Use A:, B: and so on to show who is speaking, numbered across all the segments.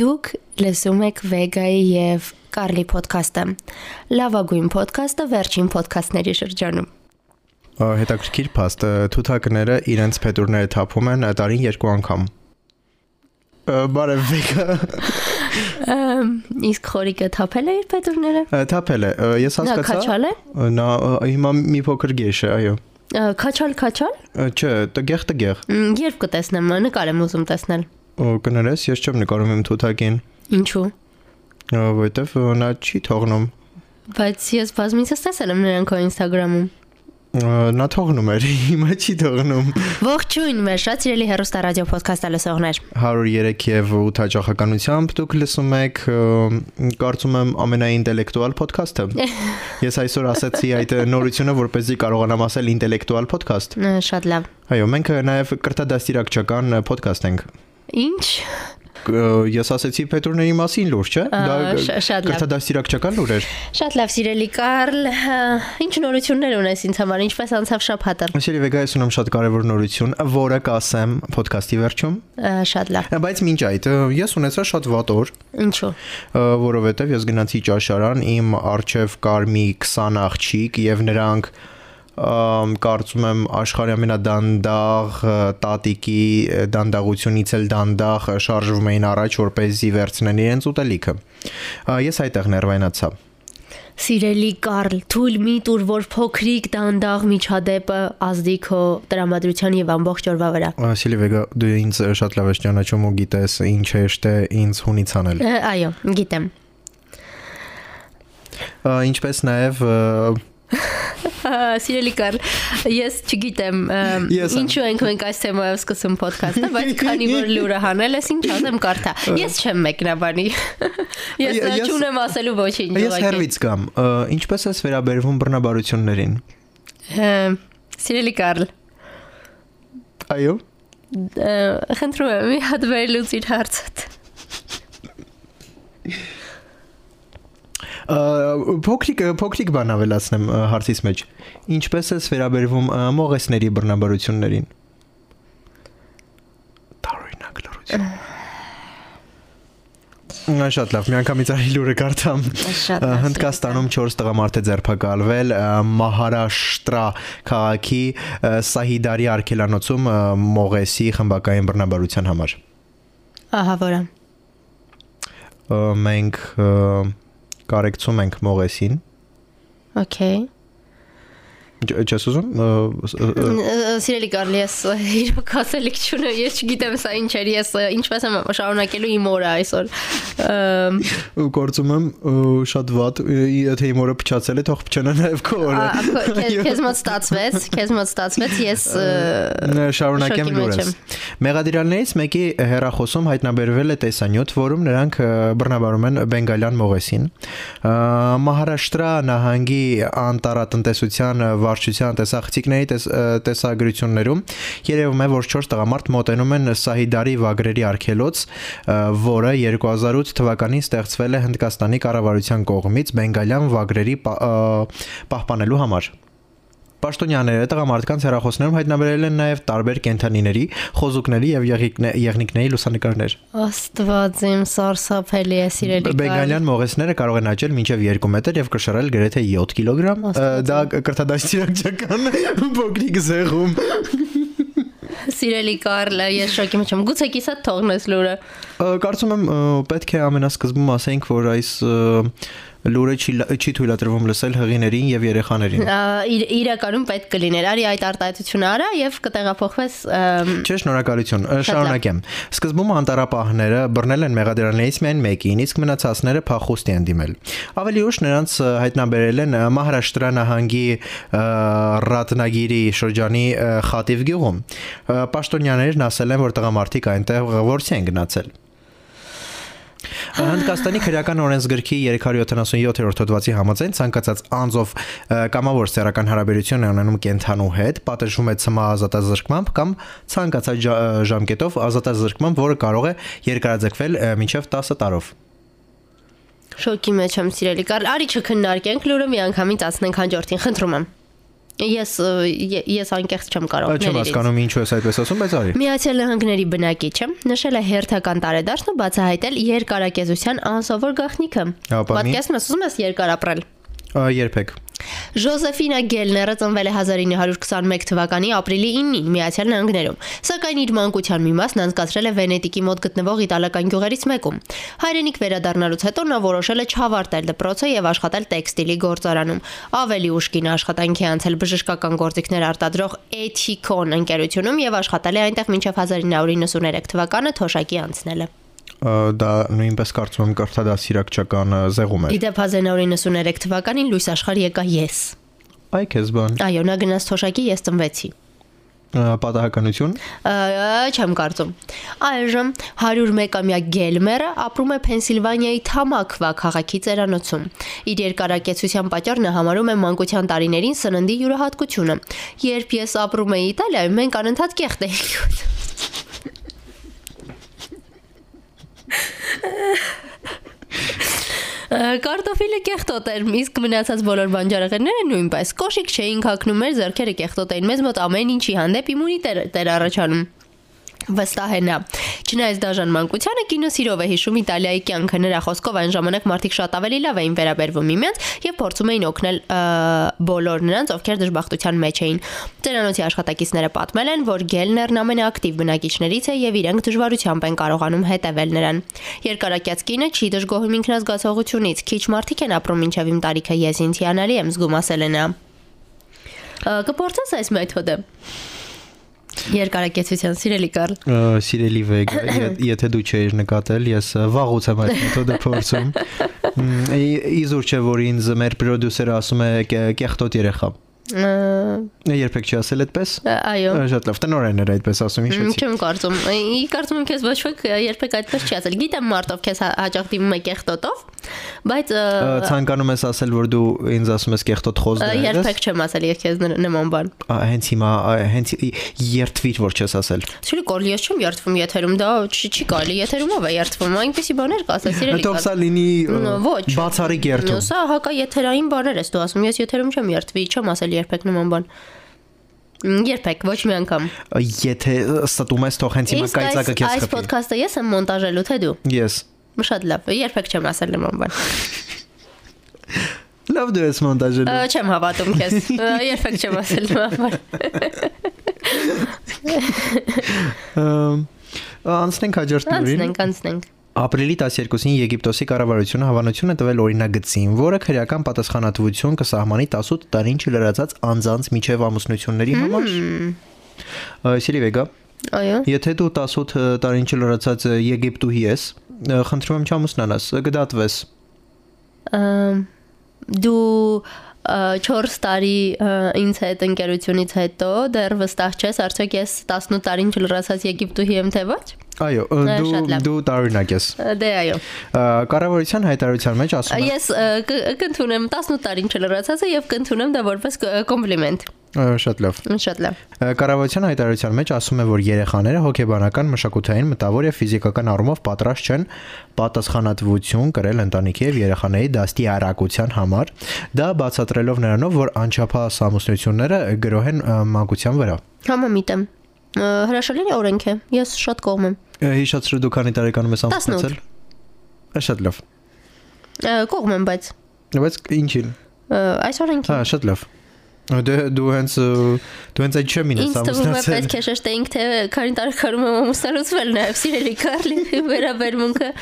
A: Դուք լսում եք Վեգայի եւ Կարլի ոդքասթը։ Լավագույն ոդքասթը վերջին ոդքասթների շրջանում։
B: Ա, հետաքրքիր փաստ ը, թութակները իրենց փետուրները թափում են ը, տարին երկու անգամ Ա, բարև վեգա
A: Ամ, Իսկ խորիկը թափել է իր փետուրները։
B: Ա, թափել է Ա, ես
A: Նա
B: հասկացա
A: քաչալ է։
B: Ա, նա ա, հիմա մի փոքր գեշ է այո
A: Ա, Քաչալ, քաչալ։
B: Ա, չէ տգեղ տգեղ
A: Մ, Երբ կտեսնեմ, նկար եմ ուզում տեսնել։
B: Ա, կներես ես չեմ նկարում իմ թութակին
A: Ինչու։
B: Ա, որովհետև ա, նա չի թողնում
A: Բայց ես բազմիցս տեսել եմ նրան քո Instagram-ում։
B: Ա, նա թողնում էր հիմա չի թողնում
A: Ողջույն, մեր շատ սիրելի հերոստա ռադիո ոդքասթը լսողներ։
B: 103 եւ 8 հաջողականությամբ դուք լսում եք ըմ, կարծում եմ ամենաինտելեկտուալ ոդքասթը։ Ես այսօր ասացի այդ նորությունը, որպեսզի կարողանամ ասել ինտելեկտուալ ոդքասթ։
A: Ա, Շատ լավ։
B: Այո, մենք նաեւ կրտադաստիրակչական ոդքասթ ենք։
A: Ինչ։
B: Կ- Ես ասացի Պետրոների մասին լուր, չէ՞։
A: Ա, շ- շատ լավ։
B: կրտադաստիրակչական լուր էր։
A: Շատ լավ, սիրելի Կարլ։ հա, Ինչ նորություններ ունես ինձ համար, ինչպես անցավ շփաթը։
B: Այսինքն Վեգայս ունեմ շատ կարևոր նորություն, որը կասեմ ոդքասթի վերջում։
A: Շատ լավ։
B: Բայց մինչ այդ ը, ես ունեցա շատ վատ օր։
A: Ինչու։
B: Ա, որովհետև ես գնացի ճաշարան, իմ արջև կար մի 20 աղջիկ եւ նրանք ամ, կարծում եմ աշխարհի ամենադանդաղ ը, տատիկի ը, դանդաղությունից էլ դանդաղ ը, շարժվում էին առաջ որպեսզի վերցնեն իրենց ուտելիքը։ Ա, Ես այդտեղ ներվայնացա։
A: Սիրելի Կարլ, թույլ մի տուր, որ փոքրիկ դանդաղ միջադեպը ազդի քո տրամադրության եւ ամբողջ օրվա վրա։
B: Ա, Սիլվեգա, դու ինձ ը, շատ լավ ես ճանաչում ու գիտես ինչ էշտ է ինձ հունից անել։
A: Ա, Այո, գիտեմ։
B: Ա, Ինչպես նաև ը,
A: Ա, Սիրելի Կարլ, ես չգիտեմ ա,
B: Ես եմ։
A: ինչու ենք մենք այս թեմայով սկսում ոդքասթը, բայց քանի որ լուրը հանել ես, ինչ ասեմ կարթա։ Ես չեմ մեկնաբանի։ Ես ա,
B: Ես-
A: չունեմ ասելու ոչինչ։
B: ես հերվից կամ ը, ինչպես ես վերաբերվում բռնաբարություններին։
A: հեռվից։ Սիրելի Կարլ,
B: Այո։
A: ա, խնդրում եմ, մի հատ վերլուծիր հարցդ։
B: Ա, Փոքրիկ փոքրիկ բան ավելացնեմ ա, հարցից մեջ։ Ինչպես ես վերաբերվում ա, մողեսների բռնաբարություններին։ Տարօրինակ լրություն։ Նա շատ լավ, միանգամից արի լուրը կարդամ։
A: Շատ
B: Ա,
A: լավ,
B: Հնդկաստանում 4 տղամարդ է ձերբակալվել ա, Մահարաշտրա քաղաքի ա, Սահիդարի արքելանոցում ա, մողեսի խմբակային բռնաբարության համար։
A: Ահա որա։
B: Ա, Մենք ա, կարեկցում ենք մողեսին։
A: Okay։
B: Չ- Չես ուզում։ ը, ս- ը, ը,
A: Սիրելի Կարլի, ես իրոք ասելիք չունեմ, ես չգիտեմ սա ինչ էր, ես ինչպես եմ շարունակելու իմ օրը այսօր։ Ամ,
B: Գործում եմ ը, շատ ված, ը, եթե իմ օրը փչացել է, թող փչանա նաև քո օրը։
A: ա, քո- քեզ- Քեզ մոտ ստացվեց, քեզ մոտ ստացվեց, ես ը,
B: Ն- շարունակեմ
A: շոկի մեջ
B: լուրս։ Մեղադրյալներից մեկի հերախոսում հայտնաբերվել է տեսանյութ, որում նրանք ը, բռնաբարում են բենգալյան մողեսին։ Ա, Մահարաշտրա նահանգի անտարատնտեսության ը, վարչության տեսախցիկների տես- ը, տեսագրություններում երևում է, որ 4 տղամարդ մոտենում են Սահիդարի վագրերի արքելոց, ը, որը 2008 թվականին ստեղծվել է Հնդկաստանի կառավարության կողմից բենգալյան վագրերի պա- ը, պահպանելու համար։ Պաշտոնյաները տղամարդկանց հեռախոսներում հայտնաբերել են նաև տարբեր կենթանիների, խոզուկների եւ եղիկնե- եղնիկների լուսանկարներ։
A: Աստված իմ սարսափելի է սիրելի Կարլի։
B: Բենգալյան մողեսները կարող են աճել մինչև 2 մետր եւ կշռել գրեթե 7 կիլոգրամ։ Ա, Դա կրթադաստիրակչական փոքրիկ զեղում։
A: Սիրելի Կարլ, ես շոկի մեջ եմ։ Գուցե կիսա թողնես լուրը։
B: Ա, Կարծում եմ ա, պետք է ամենասկզբում ասենք, որ այս ա, լուրը չի լա- չի թույլատրվում լսել հղիներին եւ երեխաներին։
A: Ա, իր- Իրականում պետք կլիներ, արի այդ արտահայտությունը արա եւ կտեղափոխվես ամ,
B: Չէ, շնորհակալություն։ Ա,
A: լավ։
B: Շարունակեմ։ Սկզբում անտարապահները բռնել են մեղադրանից միայն մեկին, իսկ մնացածները փախուստի են դիմել։ Ավելի ուշ նրանց ա, հայտնաբերել են ա, Մահարաշտրա նահանգի ա, Ռատնագիրի շրջանի ա, Խատիվ գյուղում։ Ա, Պաշտոնյաներն ասել են, որ տղամարդիկ այնտեղ ղորցի են գնացել։ Հնդկաստանի քրեական օրենսգրքի 377-րդ հոդվածի համաձայն ցանկացած անձով ը, կամավոր սեռական հարաբերություն է ունենում կենթանու հետ, պատժվում է ցմա ազատազրկմամբ կամ ցանկացած ժա- ը, ժամկետով ազատազրկմամբ, որը կարող է երկարաձգվել ը, մինչև 10 տարով։
A: շոկի մեջ եմ սիրելի Կարլ։ Արի չքննարկենք լուրը մի անգամից ասնենք հաջորդին, խնդրում եմ։ Ես ը, ե- ես անկեղծ չեմ կարող
B: Չեմ
A: ներերից։
B: հասկանում ինչու ես այդպես ասում, բայց արի։
A: Միացյալ Նահանգների բնակիչը նշել է հերթական տարեդարձն ու բացահայտել երկարակեզության անսովոր գաղտնիքը։
B: Ապա մի-
A: Պատկերացնում ես, ուզում ես երկար ապրել։
B: Ա, Երբեք։
A: Ժոզեֆինա Գելները ծնվել է 1921 թվականի ապրիլի 9-ին Միացյալ Նահանգներում, սակայն իր մանկության մի մասն անցկացրել է Վենետիկի մոտ գտնվող իտալական գյուղերից մեկում։ Հայրենիք վերադառնալուց հետո նա որոշել է չավարտել դպրոցը եւ աշխատել տեքստիլի գործարանում։ Ավելի ուշքին աշխատանքի է անցել բժշկական գործիքներ արտադրող Ethicon ընկերությունում եւ աշխատել է այնտեղ մինչեւ 1993 թվականը թոշակի անցնելը։
B: Ա, Դա նույնպես կարծում եմ կրթադասիրակչական ա, զեղում է։
A: Իդեպ 1993 թվականին լույս աշխարհ եկա ես։
B: Այ քեզ բան։
A: Այո, նա գնաց թոշակի, ես ծնվեցի։
B: Ա, Պատահականություն։
A: Ա, չեմ կարծում։ Այժմ 101-ամյա Գելմերը ապրում է Փենսիլվանիայի Թամակվա քաղաքի ծերանոցում։ Իր երկարակեցության պատճառ նա համարում է մանկության տարիներին սննդի յուրահատկությունը։ Երբ ես ապրում էի Իտալիայում, մենք անընդհատ կեղտ էինք ուտում։ Ա, Կարտոֆիլը կեղտոտ էր, իսկ մնացած բոլոր բանջարեղենները նույնպես կոշիկ չէին հագնում, մեր зерքերը կեղտոտ էին, մեզ մոտ ամեն ինչի հանդեպ իմունիտետ էր առաջանում։ Վստահ է նա։ Չնայած դաժան մանկությանը կինո սիրով է հիշում Իտալիայի կյանքը նրա խոսքով այն ժամանակ մարդիկ շատ ավելի լավ էին վերաբերվում միմյանց եւ փորձում էին օգնել ը, բոլոր նրանց, ովքեր դժբախտության մեջ էին։ Ծերանոցի աշխատակիցները պատմել են, որ Գելներն ամենաակտիվ բնակիչներից է եւ իրենք դժվարությամբ են կարողանում հետևել նրան։ Երկարակյաց կինը չի դժգոհում ինքնազգացողությունից, քիչ մարդիկ են ապրում ինչեւ իմ տարիքը ես ինձ հիանալի եմ զգում ասել է նա։ Ա, Կփորձես այս մեթոդը։ Երկարակեցության սիրելի Կարլ։
B: Ա, Սիրելի Վեգ, եթե դու չէիր նկատել, ես ա, վաղուց եմ այդ մեթոդը փորձում։ Մ, ի- Իզուր չէ, որ ինձ մեր պրոդյուսերը ասում է «Կե- կեղտոտ երեխա։
A: Ա,
B: Երբեք չի ասել այդպես։
A: Այո։
B: Ա, Շատ լավ, տնորեն էր այդպես ասում,
A: Մ,
B: հիշեցի։
A: Չեմ կարծում։ Ի կարծում եմ քեզ ոչ ոք երբեք այդպես չի ասել։ Գիտեմ մարդով քեզ հա- հաճախ դիմում է կեղտոտով, բայց ը,
B: Ա, Ցանկանում ես ասել, որ դու ինձ ասում ես կեղտոտ
A: ը,
B: խոզներ ես։
A: երբեք չեմ ասել ես քեզ նր- նման բան։
B: Ա, Հենց հիմա, ա, հենց ի- երթվիր, որ չես ասել։
A: Սիրի Կարլ, ես չեմ երթվում եթերում, դա չի չի կարելի եթերում ով է երթվում, այնպեսի բաներ կասա, սիրելի
B: Հետո
A: Կարլ։
B: սա լինի ա,
A: Ն- ոչ։
B: բացառիկ երթում։
A: Սա հակա եթերային բաներ ես դու ասում, ես եթերում չեմ երթվի, չեմ ասել երբեք նման բան։ Մ, Երբեք, ոչ մի անգամ։
B: Ա, Եթե ա, ստում ես, թող հենց հիմա
A: Իսկ այս
B: կայծակը քեզ
A: այս
B: խփի։
A: ոդքասթը ես եմ մոնտաժելու, թե դու։
B: Ես։
A: Շատ լավ, երբեք չեմ ասել նման բան։
B: Լավ դու ես մոնտաժել։
A: Ա, Չեմ հավատում քեզ։ Ա, Երբեք չեմ ասել նման բան։
B: Անցնենք հաջորդ նորին։
A: Անցնենք, անցնենք։
B: Ապրիլի 12-ին Եգիպտոսի կառավարությունը հավանություն է տվել օրինագծին, որը քրեական պատասխանատվություն կսահմանի 18 տարին չլրացած անձանց միջև ամուսնությունների համար։ Ա, Սիրի Վեգա,
A: Այո։
B: եթե դու 18 տարին չլրացած Եգիպտուհի ես, ա, խնդրում եմ չամուսնանաս, գդատվես։
A: Ամ, Դու 4 տարի ա, ինձ հետ ընկերությունից հետո դեռ վստահ չես, արդյոք ես 18 տարին չլրացած Եգիպտուհի եմ, թե ոչ։
B: Այո, ա,
A: Ա, շատ
B: դու
A: լավ։
B: դու տարօրինակ ես։
A: Ա, Դե այո։
B: Ա, Կառավարության հայտարարության մեջ
A: Ա,
B: ասում է
A: Ես ա, կ- կընդունեմ 18 տարին չլրացածը եւ կընդունեմ դա որպես կ- կոմպլիմենտ։
B: Ա, շատ լավ։
A: Շատ լավ։
B: Կառավարության հայտարարության մեջ ասում է, որ երեխաները հոգեբանական, մշակութային, մտավոր եւ ֆիզիկական առումով պատրաստ չեն պատասխանատվություն կրել ընտանիքի եւ երեխաների դաստի արագության համար, դա բացատրելով նրանով, որ անչափահաս ամուսնությունները գրոհ են ը, մանկության վրա։
A: Համամիտ եմ։ Ա, Հրաշալի օրենք է։ Ես շատ կողմ եմ։
B: Ը, Հիշացրու դու քանի տարեկանում ես ամուսնացել։ Ա, Շատ լավ։
A: Ա, Կողմ եմ, բայց
B: Բայց ինչին։
A: ա, այս օրենքի
B: Հա, շատ լավ։ Ա, Դե դու հենց ը, դու հենց այդ չեմ ինձ
A: Ինչ թվում է
B: ամուսնացել։
A: պետք է շեշտենք, թե քանի տարեկանում եմ ամուսնալուծվել նաև սիրելի Կարլի վերաբերմունքը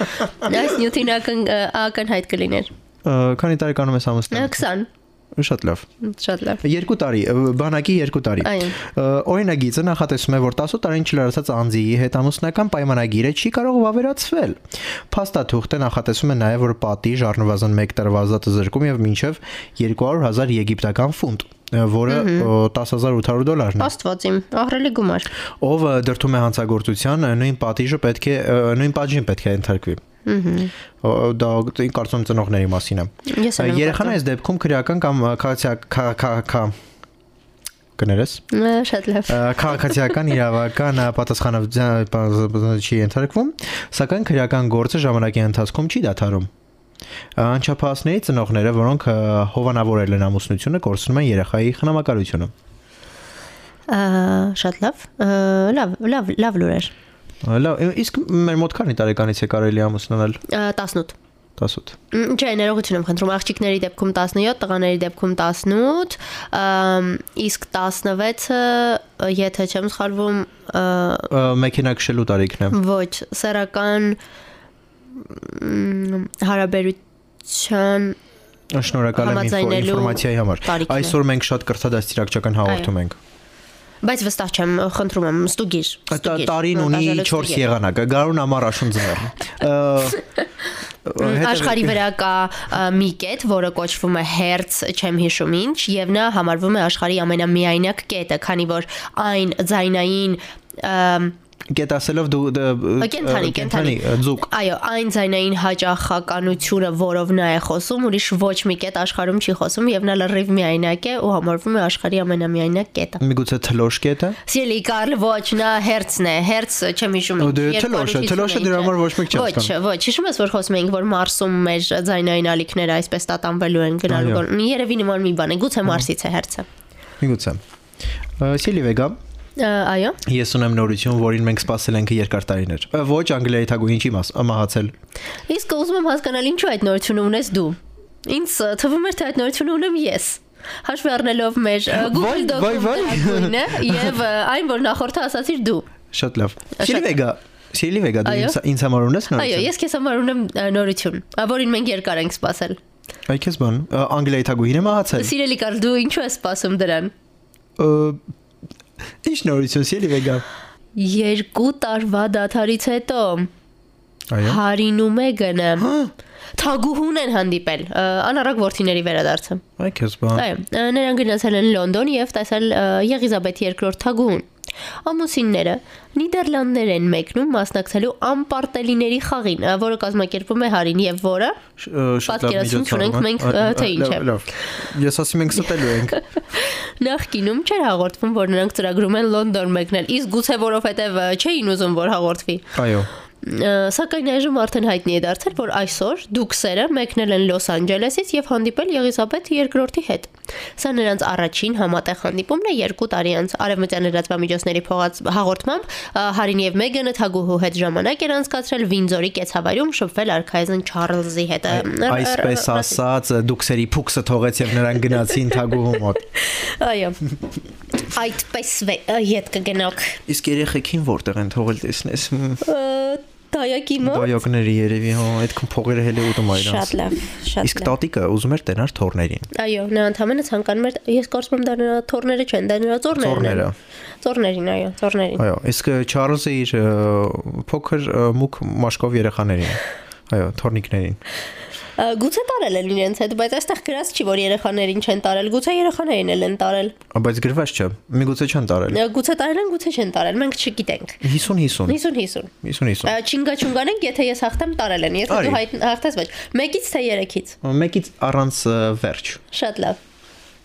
A: այս նյութին ական ականհայտ կլիներ։
B: Ա, Քանի տարեկանում ես
A: Ա,
B: ամուսնացել։
A: 20
B: Շատ լավ։
A: շատ լավ։
B: 2 տարի, ը, բանակի 2 տարի։
A: Այո։
B: Ը, Օրինագիծը նախատեսում է, որ 18 տարին չլարացած անձի հետ ամուսնական պայմանագիրը չի կարող վավերացվել։ Փաստաթուղթը նախատեսում է նաև, որ պատի ժառանգվազան 1 տարվազատը զրկում եւ մինչեւ 200.000 եգիպտական ֆունտ ը, որը ը, 10800 դոլարն է։
A: Աստված իմ, ահրելի գումար։
B: Ով ը, դրդում է հանցագործության, ը, նույն պատիժը պետք է ը, նույն պատժին պետք է ենթարկվի։ Ա, Դա ին կարծում ծնողների մասին է։
A: Ես էլ եմ
B: Երեխան այս դեպքում քրեական կամ քաղաքական կներես
A: Ա, Շատ լավ։
B: Ա, քաղաքացիական իրավական ա, պատասխանատվության պա- չի ենթարկվում, սակայն քրեական գործը ժամանակի ընթացքում չի դադարում։ Անչափահասների ծնողները, որոնք ը, հովանավորել են ամուսնությունը, կորցնում են երեխայի խնամակալությունը։
A: Ա, Շատ լավ։ Ա, Լավ, լավ, լավ լուրեր։
B: Ա, Լավ, ի- իսկ մեր մոտ քանի տարեկանից է կարելի ամուսնանալ
A: Ա, 18։
B: 18։
A: Մ, Չէ, ներողություն եմ խնդրում, աղջիկների դեպքում 17, տղաների դեպքում 18, ամ, իսկ 16-ը, եթե չեմ սխալվում, ա,
B: Ա, Մեքենա քշելու տարիքն է։
A: ոչ, սեռական մ, հարաբերության
B: Շնորհակալ եմ ինֆո-
A: Համաձայնելու
B: ինֆորմացիայի համար։
A: տարիքն է։
B: Այսօր մենք շատ կրթադաստիարակչական հաղորդում ենք։
A: Բայց վստահ չեմ, խնդրում եմ, ստուգիր։
B: Ա, տա-
A: ստուգիր,
B: Տարին ունի
A: մոնտաժելը
B: 4
A: ստուգիր։
B: եղանակ, գարուն ամառ աշուն ձմեռ։
A: Մ,
B: հետևեք-
A: Աշխարի վրա կա ա, մի կետ, որը կոչվում է Hertz, չեմ հիշում ինչ, եւ նա համարվում է աշխարի ամենամիայնակ կետը, քանի որ այն ձայնային ամ,
B: Կետ ասելով դու
A: Ա, կենդանի, կենդանի.
B: ձուկ։
A: Այո, այն ձայնային հաջախականությունը, որով նա է խոսում, ուրիշ ոչ մի կետ աշխարհում չի խոսում եւ նա լրիվ միայնակ է ու համարվում է աշխարհի ամենամիայնակ կետը։
B: Միգուցե թլոշ կետը։
A: Սիրելի Կարլ, ոչ, նա հերցն է, հերցը չեմ հիշում։
B: Ու
A: ինչ,
B: դե
A: երկու
B: թելոշը,
A: անուշից
B: թելոշը
A: ունեինք,
B: դրա
A: ա։
B: համար ոչ մեկ չի
A: Ոչ,
B: հասկանում։
A: ոչ, հիշում ես, որ խոսում էինք, որ Մարսում մեր ձայնային ալիքները այսպես տատանվելու են գնալու
B: Այո։
A: գոն։ Երևի նման մի բան է, գուցե Մարսից է հերցը։
B: Միգուցե։ Ա, Սիլի վեգա։
A: Ա, Այո։
B: Ես ունեմ նորություն, որին մենք սպասել ենք երկար տարիներ։ Ա, Ոչ անգլիայի թագուհին չի մաս մահացել։
A: Իսկ ուզում եմ հասկանալ ինչու այդ նորությունը ունես դու։ Ինձ ա, թվում էր թե այդ նորությունը ունեմ ես։ Հաշվի առնելով մեր ա,
B: Վայ,
A: Google
B: վայ, վայ։
A: դոկումենտը եւ ա, այն որ նախորդը ասացիր դու։
B: Շատ լավ։ Սիլի
A: շատ-
B: վեգա։ Սիլի վեգա, դու
A: Այո։
B: ինձ- ինձ համար ունես
A: Այո,
B: նորություն։
A: ես քեզ համար ունեմ ա, նորություն, ա, որին մենք երկար ենք սպասել։
B: Այ քեզ բան, Ա, անգլիայի թագուհին է մահացել։
A: Սիրելի Կարլ, դու ինչու ես սպասում դրան։
B: Ա, Ինչ նորություն, Սիլի վեգա։
A: Երկու տարվա դաթարից հետո
B: Այո։
A: հարինում է գնը։ Թագուհուն են հանդիպել ա, անառակ ворթիների վերադարձը։
B: Այ քեզ բան։
A: Այո, ը, նրանք գնացել են Լոնդոն եւ տեսել ը, Եղիզաբեթ II թագուհին։ Ամուսինները Նիդերլանդներ են մեկնում մասնակցելու ամպարտելիների խաղին, ը, որը կազմակերպում է Հարին եւ որը
B: Շ- ա, Շատ լավ
A: Պատկերացում
B: միջոցառում
A: չունենք
B: է։
A: մենք,
B: Ա,
A: ա, թե ինչ
B: լավ,
A: է։
B: Լավ։ Ես ասում ենք ստելու ենք։
A: նախկինում չէր հաղորդվում, որ նրանք ծրագրում են Լոնդոն մեկնել, իսկ գուցե որովհետեւ ը, չէին ուզում որ հաղորդվի։
B: Այո։
A: Ը, Սակայն այժմ արդեն հայտնի է դարձել, որ այսօր դուքսերը մեկնել են Լոս Անջելեսից եւ հանդիպել Եղիզաբեթ II-ի հետ։ Սա նրանց առաջին համատեղ հանդիպումն է 2 տարի անց Արևմտյան լրատվամիջոցների փողած հաղորդմամբ ը, Հարին եւ Մեգանը Թագուհու հետ ժամանակ էր անցկացրել Վինձորի կեցավարում շփվել արքայզեն Չարլզի հետ։ Ը, ը, ը,
B: Այսպես
A: ը,
B: ասած, դուքսերի փուկսը թողեց եւ նրան գնացին թագուհու մոտ։
A: Այո։ Այդպես վե ը, ետ կգնոք։
B: Իսկ երեխեքին որտեղ են թողել տեսնես։
A: Ը, Դայակի մոտ։
B: Բայոկների երևի հա, այդքան փողերը հել է ուտում այրանց։
A: Շատ լավ, շատ
B: Իսկ տատիկը ուզում էր տենար թորներին։
A: Այո, նա ընդհանրապես ցանկանում էր ես կարծում եմ դա նրա թորները չեն, դա նրա ծորներն են։ Ծորներին, այո,
B: Ծոռները։
A: ծորներին։
B: Այո, իսկ ը, Չարլզը իր ը, փոքր ը, մուկ մաշկով երեխաներին։ Այո, թորնիկներին։
A: Ա, Գուցե տարել են իրենց հետ, բայց այստեղ գրած չի, որ երեխաներին չեն տարել, գուցե երեխաներին էլ են տարել։
B: Բայց գրված չէ։ Միգուցե չան տարել։
A: Ա, Գուցե տարել են, գուցե չեն տարել, մենք չգիտենք։
B: 50-50։
A: 50-50։
B: 50-50։
A: Չինգա չունգանենք, եթե ես հաղթեմ, տարել են, եթե
B: Արի։
A: դու հայտ- հաղթես, ոչ։ Մեկից թե երեքից։
B: Մեկից առանց ը, վերջ։
A: Շատ լավ։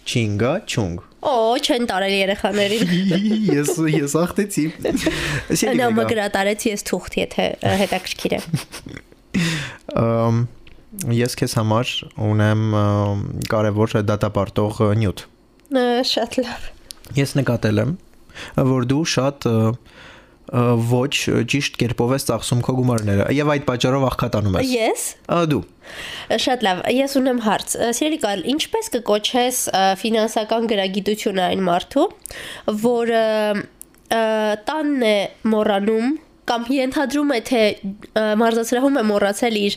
B: Չինգա, չունգ։
A: Օ, չեն տարել երեխաներին։
B: Ես ես ախտեցի։
A: Նա մգրա տարեց ես թուղթ, եթե ա, հետաքրքիր է։
B: Ամ, ես քեզ համար ունեմ ամ, կարևոր դատապարտող ը, նյութ։
A: Ա, Շատ լավ։
B: Ես նկատել եմ, որ դու շատ ը, ը, ոչ ը, ճիշտ կերպով ես ծախսում քո գումարները եւ այդ պատճառով աղքատանում ես։
A: Ես
B: Ա, Դու
A: Շատ լավ, ես ունեմ հարց։ Ա, Սիրելի Կարլ, ինչպես կկոչես ա, ֆինանսական գրագիտություն այն մարդու, որը ա, տանն է մոռանում կամ ենթադրում է թե ա, մարզասրահում է մոռացել իր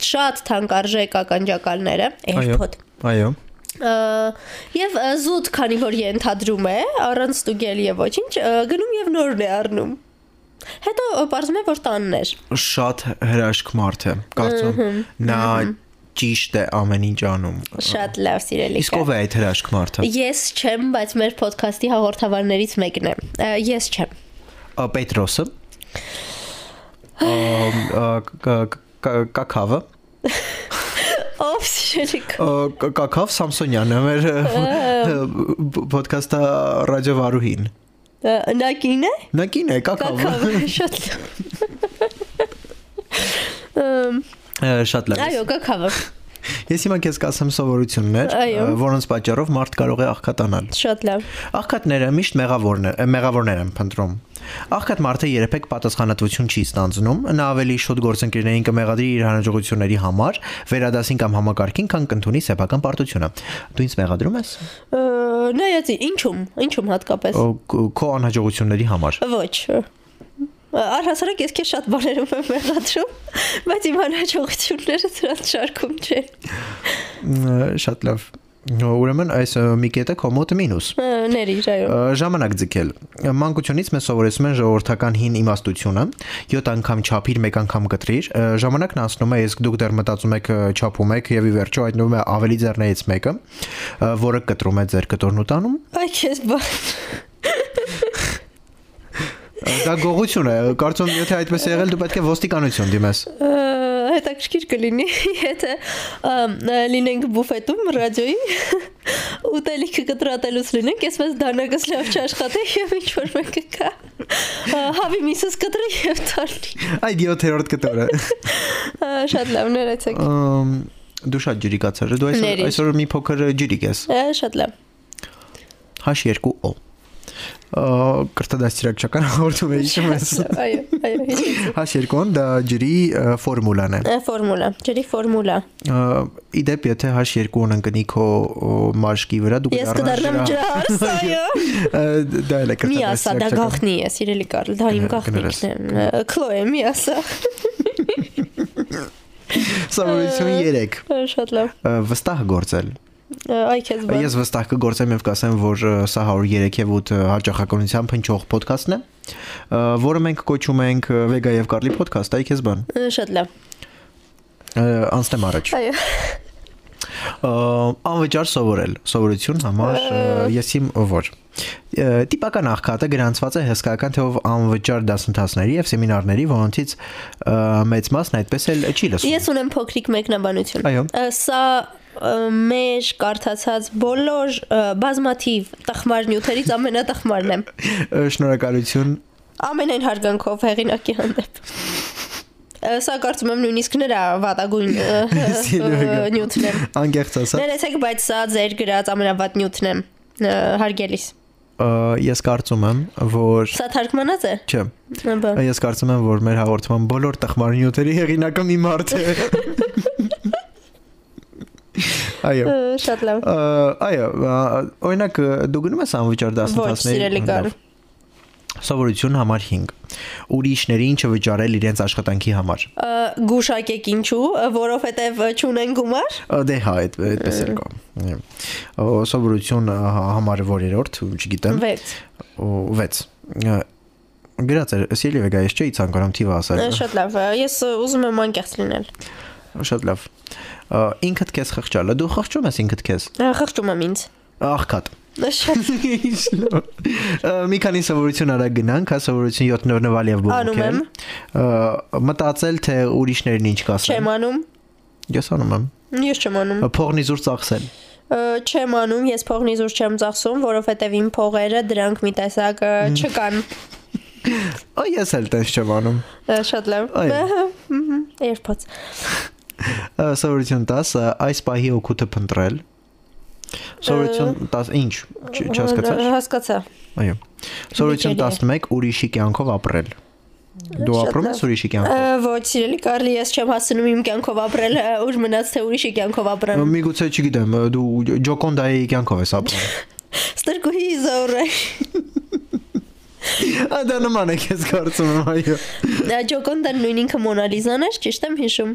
A: շատ թանկարժեք ականջակալները, AirPod։
B: Այո։
A: Ա, Եվ ա, զուտ, քանի որ ենթադրում է, առանց ստուգել եւ ոչինչ, ա, գնում եւ նորն է առնում։ Հետո ա, պարզվում է, որ տանն էր։
B: Շատ հրաշք մարդ է, կարծում։ Նա ճիշտ է ամեն ինչ անում։
A: Շատ լավ, սիրելի
B: Իսկ ով է այդ հրաշք մարդը։
A: Ես չեմ, բայց մեր ոդքասթի հաղորդավարներից մեկն է։ Ա, Ես չեմ։
B: Ա, Պետրոսը։ Ամ, ա, կ- կ- կ- Կակավը։
A: Ով շերիկ։
B: Ա, կ- Կակավ Սամսոնյանը մեր ոդքասթա ռադիո վարուհին։
A: Նա կին է։
B: Նա կին է, կակավ։
A: Կակավ շատ լավ։ Ամ,
B: Ա, Շատ լավ։
A: Այո, կքավը։
B: Ես հիմա քեզ կասեմ սովորություններ,
A: Այո։
B: ա, որոնց պատճառով մարդ կարող է աղքատանալ։
A: Շատ լավ։
B: Աղքատները միշտ մեղավորներ, ա, մեղավորներ են փնտրում։ Աղքատ մարդը երբեք պատասխանատվություն չի ստանձնում, նա ավելի շուտ գործընկերներին կմեղադրի իր հանրաճողությունների համար, վերադասին կամ համակարգին, քան կընդունի սեփական պարտությունը։ Դու ինձ մեղադրում ես
A: Ա, Նայեցի, ինչու՞մ, ինչու՞մ հատկապես։
B: Ո, ք- քո անհաջողությունների համար։
A: Ոչ։ Առհասարակ ես քեզ շատ բաներով եմ մեղադրում, բայց իմ հաջողությունները դրանց շարքում չեն։
B: Ա, Շատ լավ։ Ա, Ուրեմն այս ա, մի կետը քո մոտ մինուս։
A: Ա, Ներիր, այո։
B: Ա, ժամանակ ձգել։ Մանկությունից մեզ սովորեցում են ժողովրդական հին իմաստությունը՝ 7 անգամ չափիր, 1 անգամ կտրիր։ Ա, Ժամանակն անցնում է, իսկ դուք դեռ մտածում եք ա, չափում եք եւ ի վերջո հայտնվում է ավելի ձեռներից մեկը, ա, որը կտրում է ձեր կտորն ու տանում։
A: Այ քեզ բան։
B: Ա, Դա գողություն է։ Կարծում եմ, եթե այդպես է եղել, դու պետք է ոստիկանություն դիմես։
A: Ա, հետաքրքիր կլինի, եթե ամ, լինենք բուֆետում ռադիոյի ուտելիքը կտրատելուց լինենք, ես մեզ դանակս լավ չաշխատի եւ ինչ որ մեկը կա։ ա, Հավի միսս կտրի եւ տալի։
B: Այդ 7-րդ կտորը։
A: Ա, Շատ լավ, ներեցեք։
B: Ամ, Դու շատ ջրիկացար ես։ Դու այսօր
A: Ներիր։
B: այսօր մի փոքր ջրիկ ես։
A: Ա, Շատ լավ։
B: H2O։ Կրտադաստիրակչական հաղորդում է հիշում ես։
A: Շատ լավ, Այո, այո, հիշեցի։
B: H2O-ն դա ջրի ա, ֆորմուլան է։
A: Ա, Ֆորմուլա, ջրի ֆորմուլա։
B: Ա, Ի դեպ, եթե H2O-ն ընկնի քո ո, մաշկի վրա, դու
A: Ես կդառնամ ջրարս, այո։
B: Ա, դ- Դա էլ է
A: Մի ասա, դա
B: կրտադաստիրակչական։
A: գախնի է, սիրելի Կարլ, դա իմ
B: Գնա- գնալես։
A: գախնիկն է։ Քլոե, մի ասա։
B: Սովորություն 3
A: Ա, Շատ լավ։
B: վստահ գործել։
A: Ա, Այ քեզ բան։
B: Ես վստահ կգործեմ եւ կասեմ, որ ա, սա 103 եւ 8 հաճախականության փնչող ոդքասթն է, ա, որը մենք կոչում ենք ա, Vega եւ Carly podcast, այ քեզ բան։
A: Ա, Շատ լավ։
B: Ա, Անցնեմ առաջ։
A: Այո։
B: Ա, անվճար սովորել սովորություն համար ը, ես իմ որ Ը, տիպական աղքատը գրանցված է հսկական թեով անվճար դասընթացների եւ սեմինարների որոնցից ը, մեծ մասն այդպես էլ չի լսում
A: Ես ունեմ փոքրիկ մեկնաբանություն։
B: Այո։
A: Ա, Սա ա, մեր կարդացած բոլոր ա, բազմաթիվ տխմար նյութերից ամենատխմարն է։
B: Ը, շնորհակալություն
A: Ամենայն հարգանքով հեղինակի հանդեպ։ Ա, Սա կարծում եմ նույնիսկ նրա վատագույն ա,
B: Սիրելի
A: ա,
B: Կարլ։
A: նյութն է։
B: անգերց ասա
A: Ներեցեք, բայց սա ձեր գրած ամենավատ նյութն է։ ը, Հարգելիս։
B: ես կարծում եմ որ
A: Սա թարգմանած է։
B: չէ
A: Բա։
B: ես կարծում եմ որ մեր հաղորդման բոլոր տխմարնյութերի հեղինակը մի մարդ է
A: Ա,
B: այո
A: Շատ լավ։
B: Ա, այո ա, օրինակ ա, դու գնում ես անվճար
A: Ոչ,
B: դասընթացների
A: սիրելի Կարլ։
B: Սովորություն համար 5. Ուրիշների ինչը վճարել իրենց աշխատանքի համար։
A: Ա, Գուշակեք ինչու, ա, որովհետև ա, չունեն գումար։
B: Ա, Դե հա, այդ այդպես էլ կա։ Ա, ո, Սովորություն ա, համարը որերորդ, չգիտեմ,
A: 6։
B: 6։ Գրած էր, սիրելի վեգա, ես չէի ցանկանում թիվը ասել։
A: Շատ լավ։ ա, Ես ա, ուզում եմ անկեղծ լինել։
B: Շատ լավ։ Ա, Ինքդ քեզ խղճալը, դու խղճում ես ինքդ քեզ։
A: Ա, Խղճում եմ ինձ։
B: Աղքատ։
A: Ա, Շատ
B: Ինչ լավ։ Ա, Մի քանի սովորություն արա գնանք, հա սովորություն 7 նորնվալ եւ
A: Անում
B: բողոքել։
A: եմ։
B: Ա, Մտածել թե ուրիշներին ինչ կասեն։
A: չեմ անում։
B: Ես անում եմ։
A: Ես չեմ անում։
B: Ա, Փողնի զուր ծախսել։
A: Ա, Չեմ անում, ես փողնի զուր չեմ ծախսում, որովհետև իմ փողերը դրանք մի տեսակ ա, չկան։
B: Ա ես էլ տես չեմ անում։
A: Ա, Շատ լավ։
B: Այո։
A: Երբոց։
B: Ա, Սովորություն 10 ա, այս պահի օգուտը փնտրել։ Սովորություն 10 ինչ Չ- չհասկացար։
A: Հասկացա։
B: Այո։ Սովորություն
A: Լիճելի է։
B: 11 ուրիշի կյանքով ապրել։ Դու
A: Շատ
B: ապրում ես
A: լավ։
B: ուրիշի
A: Ա,
B: կյանքով։
A: Ոչ, սիրելի Կարլի, ես չեմ հասնում իմ կյանքով ապրել, ա, ուր մնաց թե ուրիշի կյանքով ապրեմ։
B: Միգուցե չգիտեմ, ա, դու Ջոկոնդայի կյանքով ես ապրում։
A: Ստրկուհի զորը։
B: Ա դա նման է քեզ կարծում եմ, այո։
A: Ջոկոնդան նույն ինքը Մոնալիզան էր, ճիշտ եմ հիշում։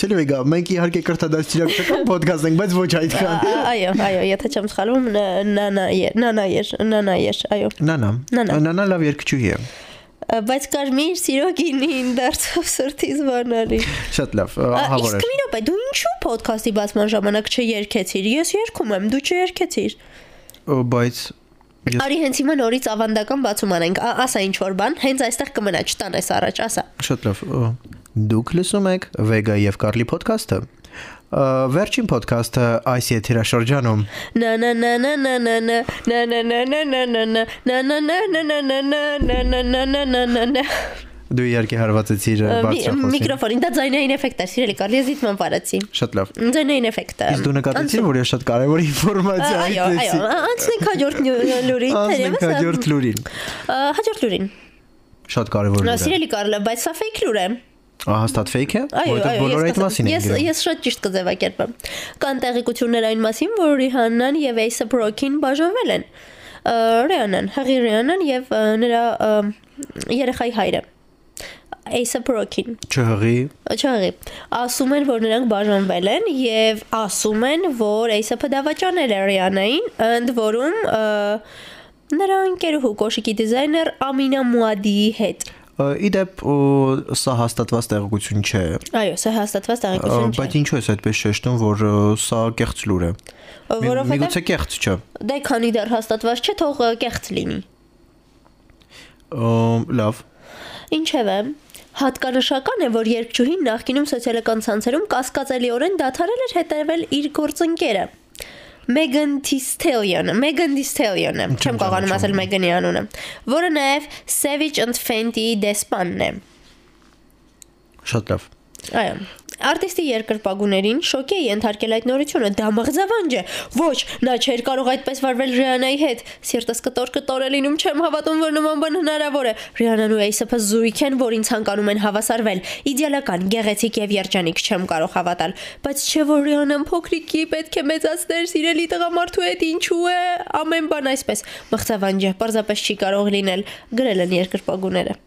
B: Սիրելի վեգա, մենք իհարկե կրթադաստիարակական ոդկաստ ենք, բայց ոչ
A: Ա,
B: այդքան։
A: ա, Այո, այո, եթե չեմ սխալվում, նա- նանա էր, նանա էր, նանա էր, այո։
B: Նանա։
A: Նանա։
B: Նանա լավ երկչուհի է։
A: Ա, Բայց կար մի սիրոգինին դարձավ սրտիս բանալի։
B: Շատ լավ, ա,
A: Ա,
B: ահավոր
A: Իսկ
B: է։
A: մի ոպե, դու ինչու ոդքասթի բացման ժամանակ չերքեցիր։ Ես երգում եմ, դու չերքեցիր։
B: Ա, Բայց ես
A: Արի հենց հիմա նորից ավանդական բացում անենք։ Ա, Ասա ինչ որ բան, հենց այստեղ կմնա, չտանես առաջ, ասա։
B: Շատ լավ։ ը, Դուք լսում եք Vega եւ Carly podcast-ը։ Ը, Վերջին podcast-ը այս եթերաշրջանում
A: Na na na na na na na na na na na na na na na na na na na na na na na na na na
B: Դու իհարկե հարվածեցիր
A: Մի-
B: բարձրախոսին։
A: Միկրոֆոնին դա ձայնային էֆեկտ է, սիրելի կարելի է զիթման վարացի։
B: Շատ լավ։
A: Ձայնային էֆեկտը։
B: Իսկ դու նկատեցիր, որ ես շատ կարևոր ինֆորմացիա
A: Այո, այո,
B: այդտեսի։
A: անցնենք հաջորդ նյու- լուրին,
B: Անցնենք
A: ա,
B: հաջորդ Հա, լուրին։
A: ա, հաջորդ լուրին։
B: Շատ կարևոր
A: Նա
B: լուր է։
A: սիրելի կարլը, բայց սա fake լուր է։
B: Ահա ստատ fake է,
A: Այո,
B: որտեղ
A: այո,
B: բոլորը
A: ես
B: այդ մասին են
A: ես
B: գրում։
A: ես շատ ճիշտ կձևակերպեմ։ Կան տեղեկություններ այն մասին, որ Ռիհաննան եւ Էյսա Բրոքին բաժանվել են։ Ա, Ռիհաննան, Հեղի Ռիհաննան եւ ա, նրա ա, երեխայի հայրը։ Էյսա Բրոքին։
B: Չհղի։
A: Չաղի։ Ասում են, որ նրանք բաժանվել են եւ ասում են, որ ASAP-ը դավաճանել է Rihanna-ին, ընդ որում ը, նրա ընկերուհու Կոշիկի դիզայներ Ամինա Մուադիի հետ։
B: Ա, Իդեպ ո, սա հաստատված տեղեկություն չէ։
A: Այո, սա հաստատված
B: Ա,
A: տեղեկություն
B: Բայց ինչու ես այդպես շեշտում, որ ա, սա կեղծ լուր է։
A: չէ։
B: Մի-
A: Որովհետեւ
B: Միգուցե կեղծ չէ։
A: դե քանի դեռ հաստատված չէ, թող ը, կեղծ լինի։
B: Ա, Լավ։
A: Ինչևէ, հատկանշական է, որ երկչուհին նախկինում սոցիալական ցանցերում կասկածելիորեն դադարել էր հետևել իր գործընկերը։ Megan Thee Stallion, Megan Thee Stallion-ը, չեմ կարողանում ասել Megan-ի անունը, որը նաև Savage and Fenty-ի դեսպանն է։
B: Շատ լավ։
A: Այո։ Արտիստի երկրպագուներին շոկ է ենթարկել այդ նորությունը, դա մղձավանջ է։ Ոչ, նա չէր կարող այդպես վարվել Ռիանայի հետ։ Սիրտս կտոր կտոր է լինում, չեմ հավատում, որ նման բան հնարավոր է։ Ռիանան ու Էյսեփը զույգ են, որին ցանկանում են հավասարվել։ Իդեալական, գեղեցիկ եւ երջանիկ չեմ կարող հավատալ, բայց չէ որ Ռիանան փոքրիկի պետք է մեծացներ սիրելի տղամարդու հետ, ինչու է ամեն բան այսպես։ Մղձավանջ է, պարզապես չի կարող լինել, գրել են երկրպագուները։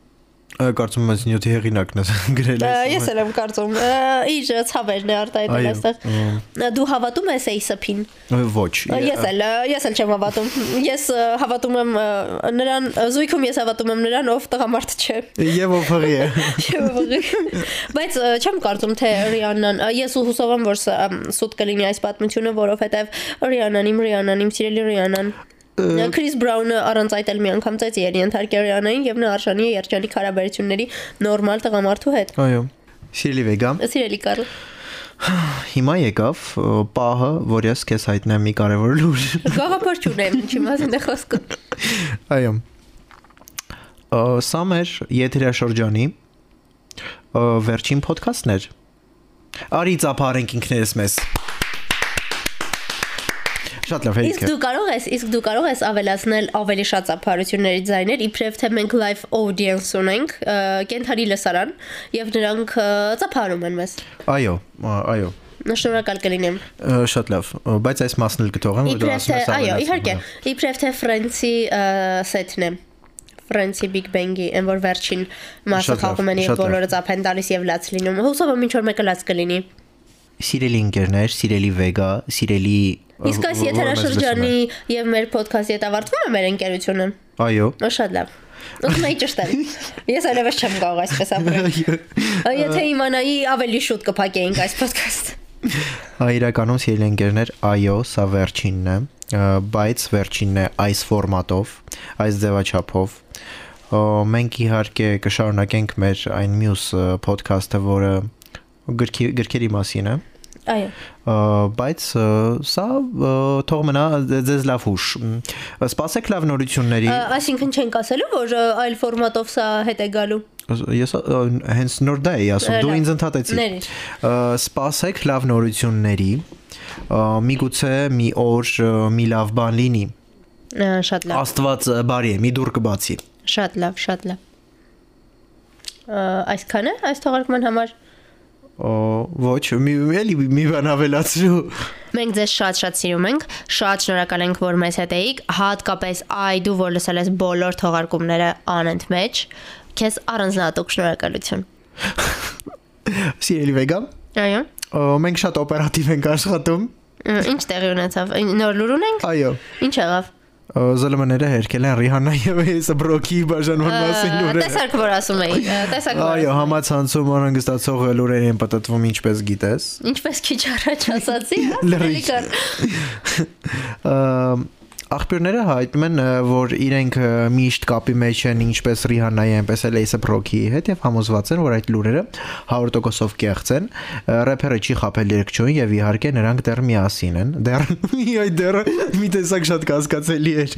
B: Ա, Կարծում եմ այս նյութի հեղինակն է գրել
A: Ա,
B: այս
A: Ես
B: օրը։
A: էլ եմ կարծում։ ա, Իր ցավերն է արտահայտել
B: Այո,
A: այստեղ։ Ա, Դու հավատում ես ASAP-ին։
B: Ա, Ոչ։
A: Ես էլ, ա, ես էլ չեմ հավատում։ Ես ա, հավատում եմ ա, նրան, ա, զույգում ես հավատում եմ նրան, ով տղամարդ չէ։
B: Եվ ով հղի է։
A: Եվ ողի- Բայց ա, չեմ կարծում, թե Ռիաննան, ա, ես ու հուսով եմ, որ սա, ա, սուտ կլինի այս պատմությունը, որովհետև Ռիաննան իմ Ռիաննան, իմ սիրելի Ռիաննան։ Ա, Քրիս Բրաունը առանց այդ էլ մի անգամ ծեծ երի ենթարկել Ռիաննային եւ նա արժանի է երջանիկ հարաբերությունների նորմալ տղամարդու հետ։
B: Այո։ Սիրելի Վեգա,
A: Սիրելի Կարլ։
B: հիմա եկավ ա, պահը, որ ես քեզ հայտնեմ մի կարևոր լուր։
A: Գաղափար չունեմ, ինչի մասին է խոսքը։
B: Այո։ Ա, Սա մեր եթերաշրջանի ա, վերջին ոդքասթն էր։ Արի ծափարենք ինքներս մեզ։ Շատ լավ,
A: Իսկ
B: հերիք է։
A: դու կարող ես, իսկ դու կարող ես ավելացնել ավելի շատ ծափարությունների ձայներ, իբրև թե մենք live audience ունենք, ը, կենթանի լսարան, եւ նրանք ը, ծափարում են մեզ։
B: Այո, ա, այո։
A: Նա շնորհակալ կլինեմ։
B: Ա, Շատ լավ, ա, բայց այս մասն էլ կթողեմ, որ դու
A: Իբրև
B: ասում
A: թե,
B: ես հա։
A: այո,
B: ավելացնեմ,
A: իհարկե, իբրև թե Friends-ի ը, սեթն է։ Friends-ի Big Bang-ի, այն որ վերջին մասը
B: Շատ լավ,
A: խաղում են եւ
B: շատ լավ։
A: բոլորը ծափ են տալիս եւ լաց լինում։ Հուսով եմ ինչ որ մեկը լաց կլինի։
B: Սիրելի ընկերներ, սիրելի Վեգա, սիրելի ա,
A: Իսկ այս
B: ո- ո- որ մեզ
A: եթերաշրջանի
B: լսում
A: եւ մեր podcast-ի հետ ավարտվում է մեր ընկերությունը։
B: է։ Այո։
A: Ո շատ լավ։ Ոսմայի ճշտեմ։ Ես այլևս չեմ կարող այսպես ապրել։
B: Այո։
A: Ա, Եթե իմանայի, ավելի շուտ կփակեինք այս podcast։
B: Հա իրականում սիրելի ընկերներ, այո, սա վերջինն է, ը, բայց վերջինն է այս ֆորմատով, այս ձևաչափով։ Ա, Մենք իհարկե կշարունակենք մեր այն մյուս ը, podcast-ը, որը գրքի գրքերի մասին է,
A: Այո։
B: ը, բայց ը, սա ը, թող մնա ձե- ձեզ լավ հուշ։ Մ, Սպասեք լավ նորությունների։
A: Ա, Այսինքն չենք ասելու, որ ա, այլ ֆորմատով սա հետ է գալու։
B: Ես ը, հենց նոր դա էի ասում,
A: Ա,
B: դու
A: լավ։
B: ինձ ընդհատեցի։
A: Ներիր։
B: Ա, սպասեք լավ նորությունների։ ա, Միգուցե մի օր ա, մի լավ բան լինի։
A: Ա, Շատ լավ։
B: Աստված ա, բարի է, մի դուր կբացի։
A: Շատ լավ, շատ լավ։ Ա, Այսքան է այս թողարկման համար։
B: Ա, Ոչ, մի մի- էլի մի բան ավելացրու։
A: Մենք ձեզ շատ-շատ սիրում ենք, շատ շնորհակալ ենք, որ մեզ հետ էիք, հատկապես այ դու, որ լսել ես բոլոր թողարկումները անընդմեջ, քեզ առանձնատուկ շնորհակալություն։
B: Սիրելի Վեգա,
A: Այո։
B: ա, մենք շատ օպերատիվ ենք աշխատում։
A: Ա, Ինչ տեղի ունեցավ։ Ին- Նոր լուր ունենք։
B: Այո։
A: Ինչ եղավ։
B: ա, Զլմները հերքել են Ռիհանա եւ Էսա Բրոքի բաժանման մասին
A: Ա,
B: լուրերը։
A: Տեսակ որ ասում էի։ ա, Տեսակ որ։
B: Այո,
A: ասում էի։
B: համացանցում անհանգստացող լուրեր են պատտվում, ինչպես գիտես։
A: հա, Ինչպես քիչ առաջ ասացի,
B: Լրիվ։
A: ասելի կար։
B: Ա, Աղբյուրները հայտնում են, ը, որ իրենք ը, միշտ կապի մեջ են ինչպես Ռիհանայի, այնպես էլ Ace Rocky-ի հետ եւ համոզված են, որ այդ լուրերը 100%-ով կեղծ են։ ը, Ռեփերը չի խապել երկչոյին եւ իհարկե նրանք դեռ միասին են։ Դեռ մի այ դեռ մի տեսակ շատ կասկածելի էր։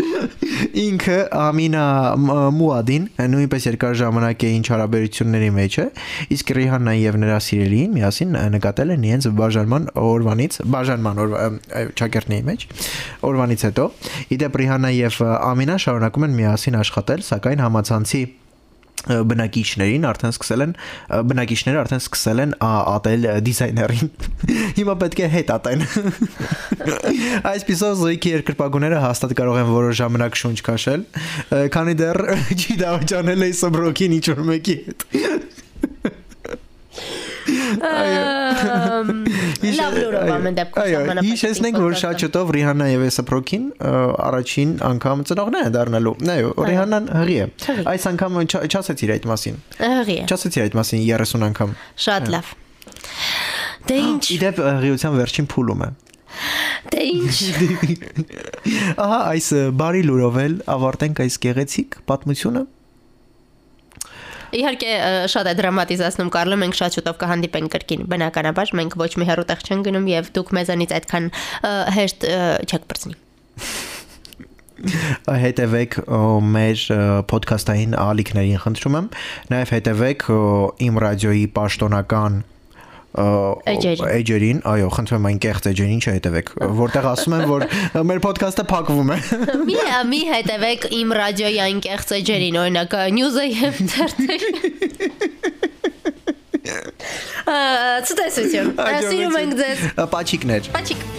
B: Ինքը Ամինա Մ- Մուադին նույնպես երկար ժամանակ է ինչ հարաբերությունների մեջ է, իսկ Ռիհանան եւ նրա սիրելին միասին ը, նկատել են իրենց բաժանման օրվանից, բաժանման օրվա ը, ը, ճակերտների մեջ օրվանից հետո։ Իդեպ Ռիհանա եւ ը, Ամինա շարունակում են միասին աշխատել, սակայն համացանցի ը, բնակիչներին արդեն սկսել են ը, բնակիչները արդեն սկսել են ա, ատել ը, դիզայներին։ Հիմա պետք է հետ ատեն։ Այսպիսով զույգի երկրպագուները հաստատ կարող են որոշ ժամանակ շունչ քաշել, ը, քանի դեռ չի դավաճանել այս սբրոքին ինչ որ մեկի հետ։
A: Ամ, Լավ լուրով ամեն դեպքում
B: Այո, հիշեցնենք, որ շատ շուտով Ռիհանա եւ Էսպրոքին առաջին անգամ ծնողներ են դառնալու։ Այո, Ռիհանան հղի է։
A: Հղի։
B: Այս անգամ չ- չասեցիր այդ մասին։
A: Հղի է։
B: Չասեցիր այդ մասին 30 անգամ։
A: Շատ լավ։ Դե ինչ,
B: Իդեպ հղիության վերջին փուլում է։
A: դե ինչ։
B: Ահա այս ը, բարի լուրով էլ ավարտենք այս գեղեցիկ պատմությունը։
A: Իհարկե ը, շատ է դրամատիզացնում Կարլը, մենք շատ շուտով կհանդիպենք կրկին։ Բնականաբար մենք ոչ մի հեռու տեղ չենք գնում եւ դուք մեզանից այդքան ը, հեշտ ը, չեք բրցնի։
B: Ա, Հետևեք ը, մեր ը, podcast-ային ալիքներին խնդրում եմ։ Նաև հետևեք ը, իմ ռադիոյի պաշտոնական ը,
A: Էջերին։
B: էջերին, այո, խնդրում եմ այն կեղծ էջերին չհետևեք, որտեղ ասում են, որ ը, մեր podcast-ը փակվում է։
A: Մի մի հետևեք իմ ռադիոյի այն կեղծ էջերին, օրինակ նյուզը եւ դերթը։ Ա, ցտեսություն։
B: Ա,
A: Սիրում ենք ձեզ։
B: Ա, Պաչիկներ։
A: Պաչիկ։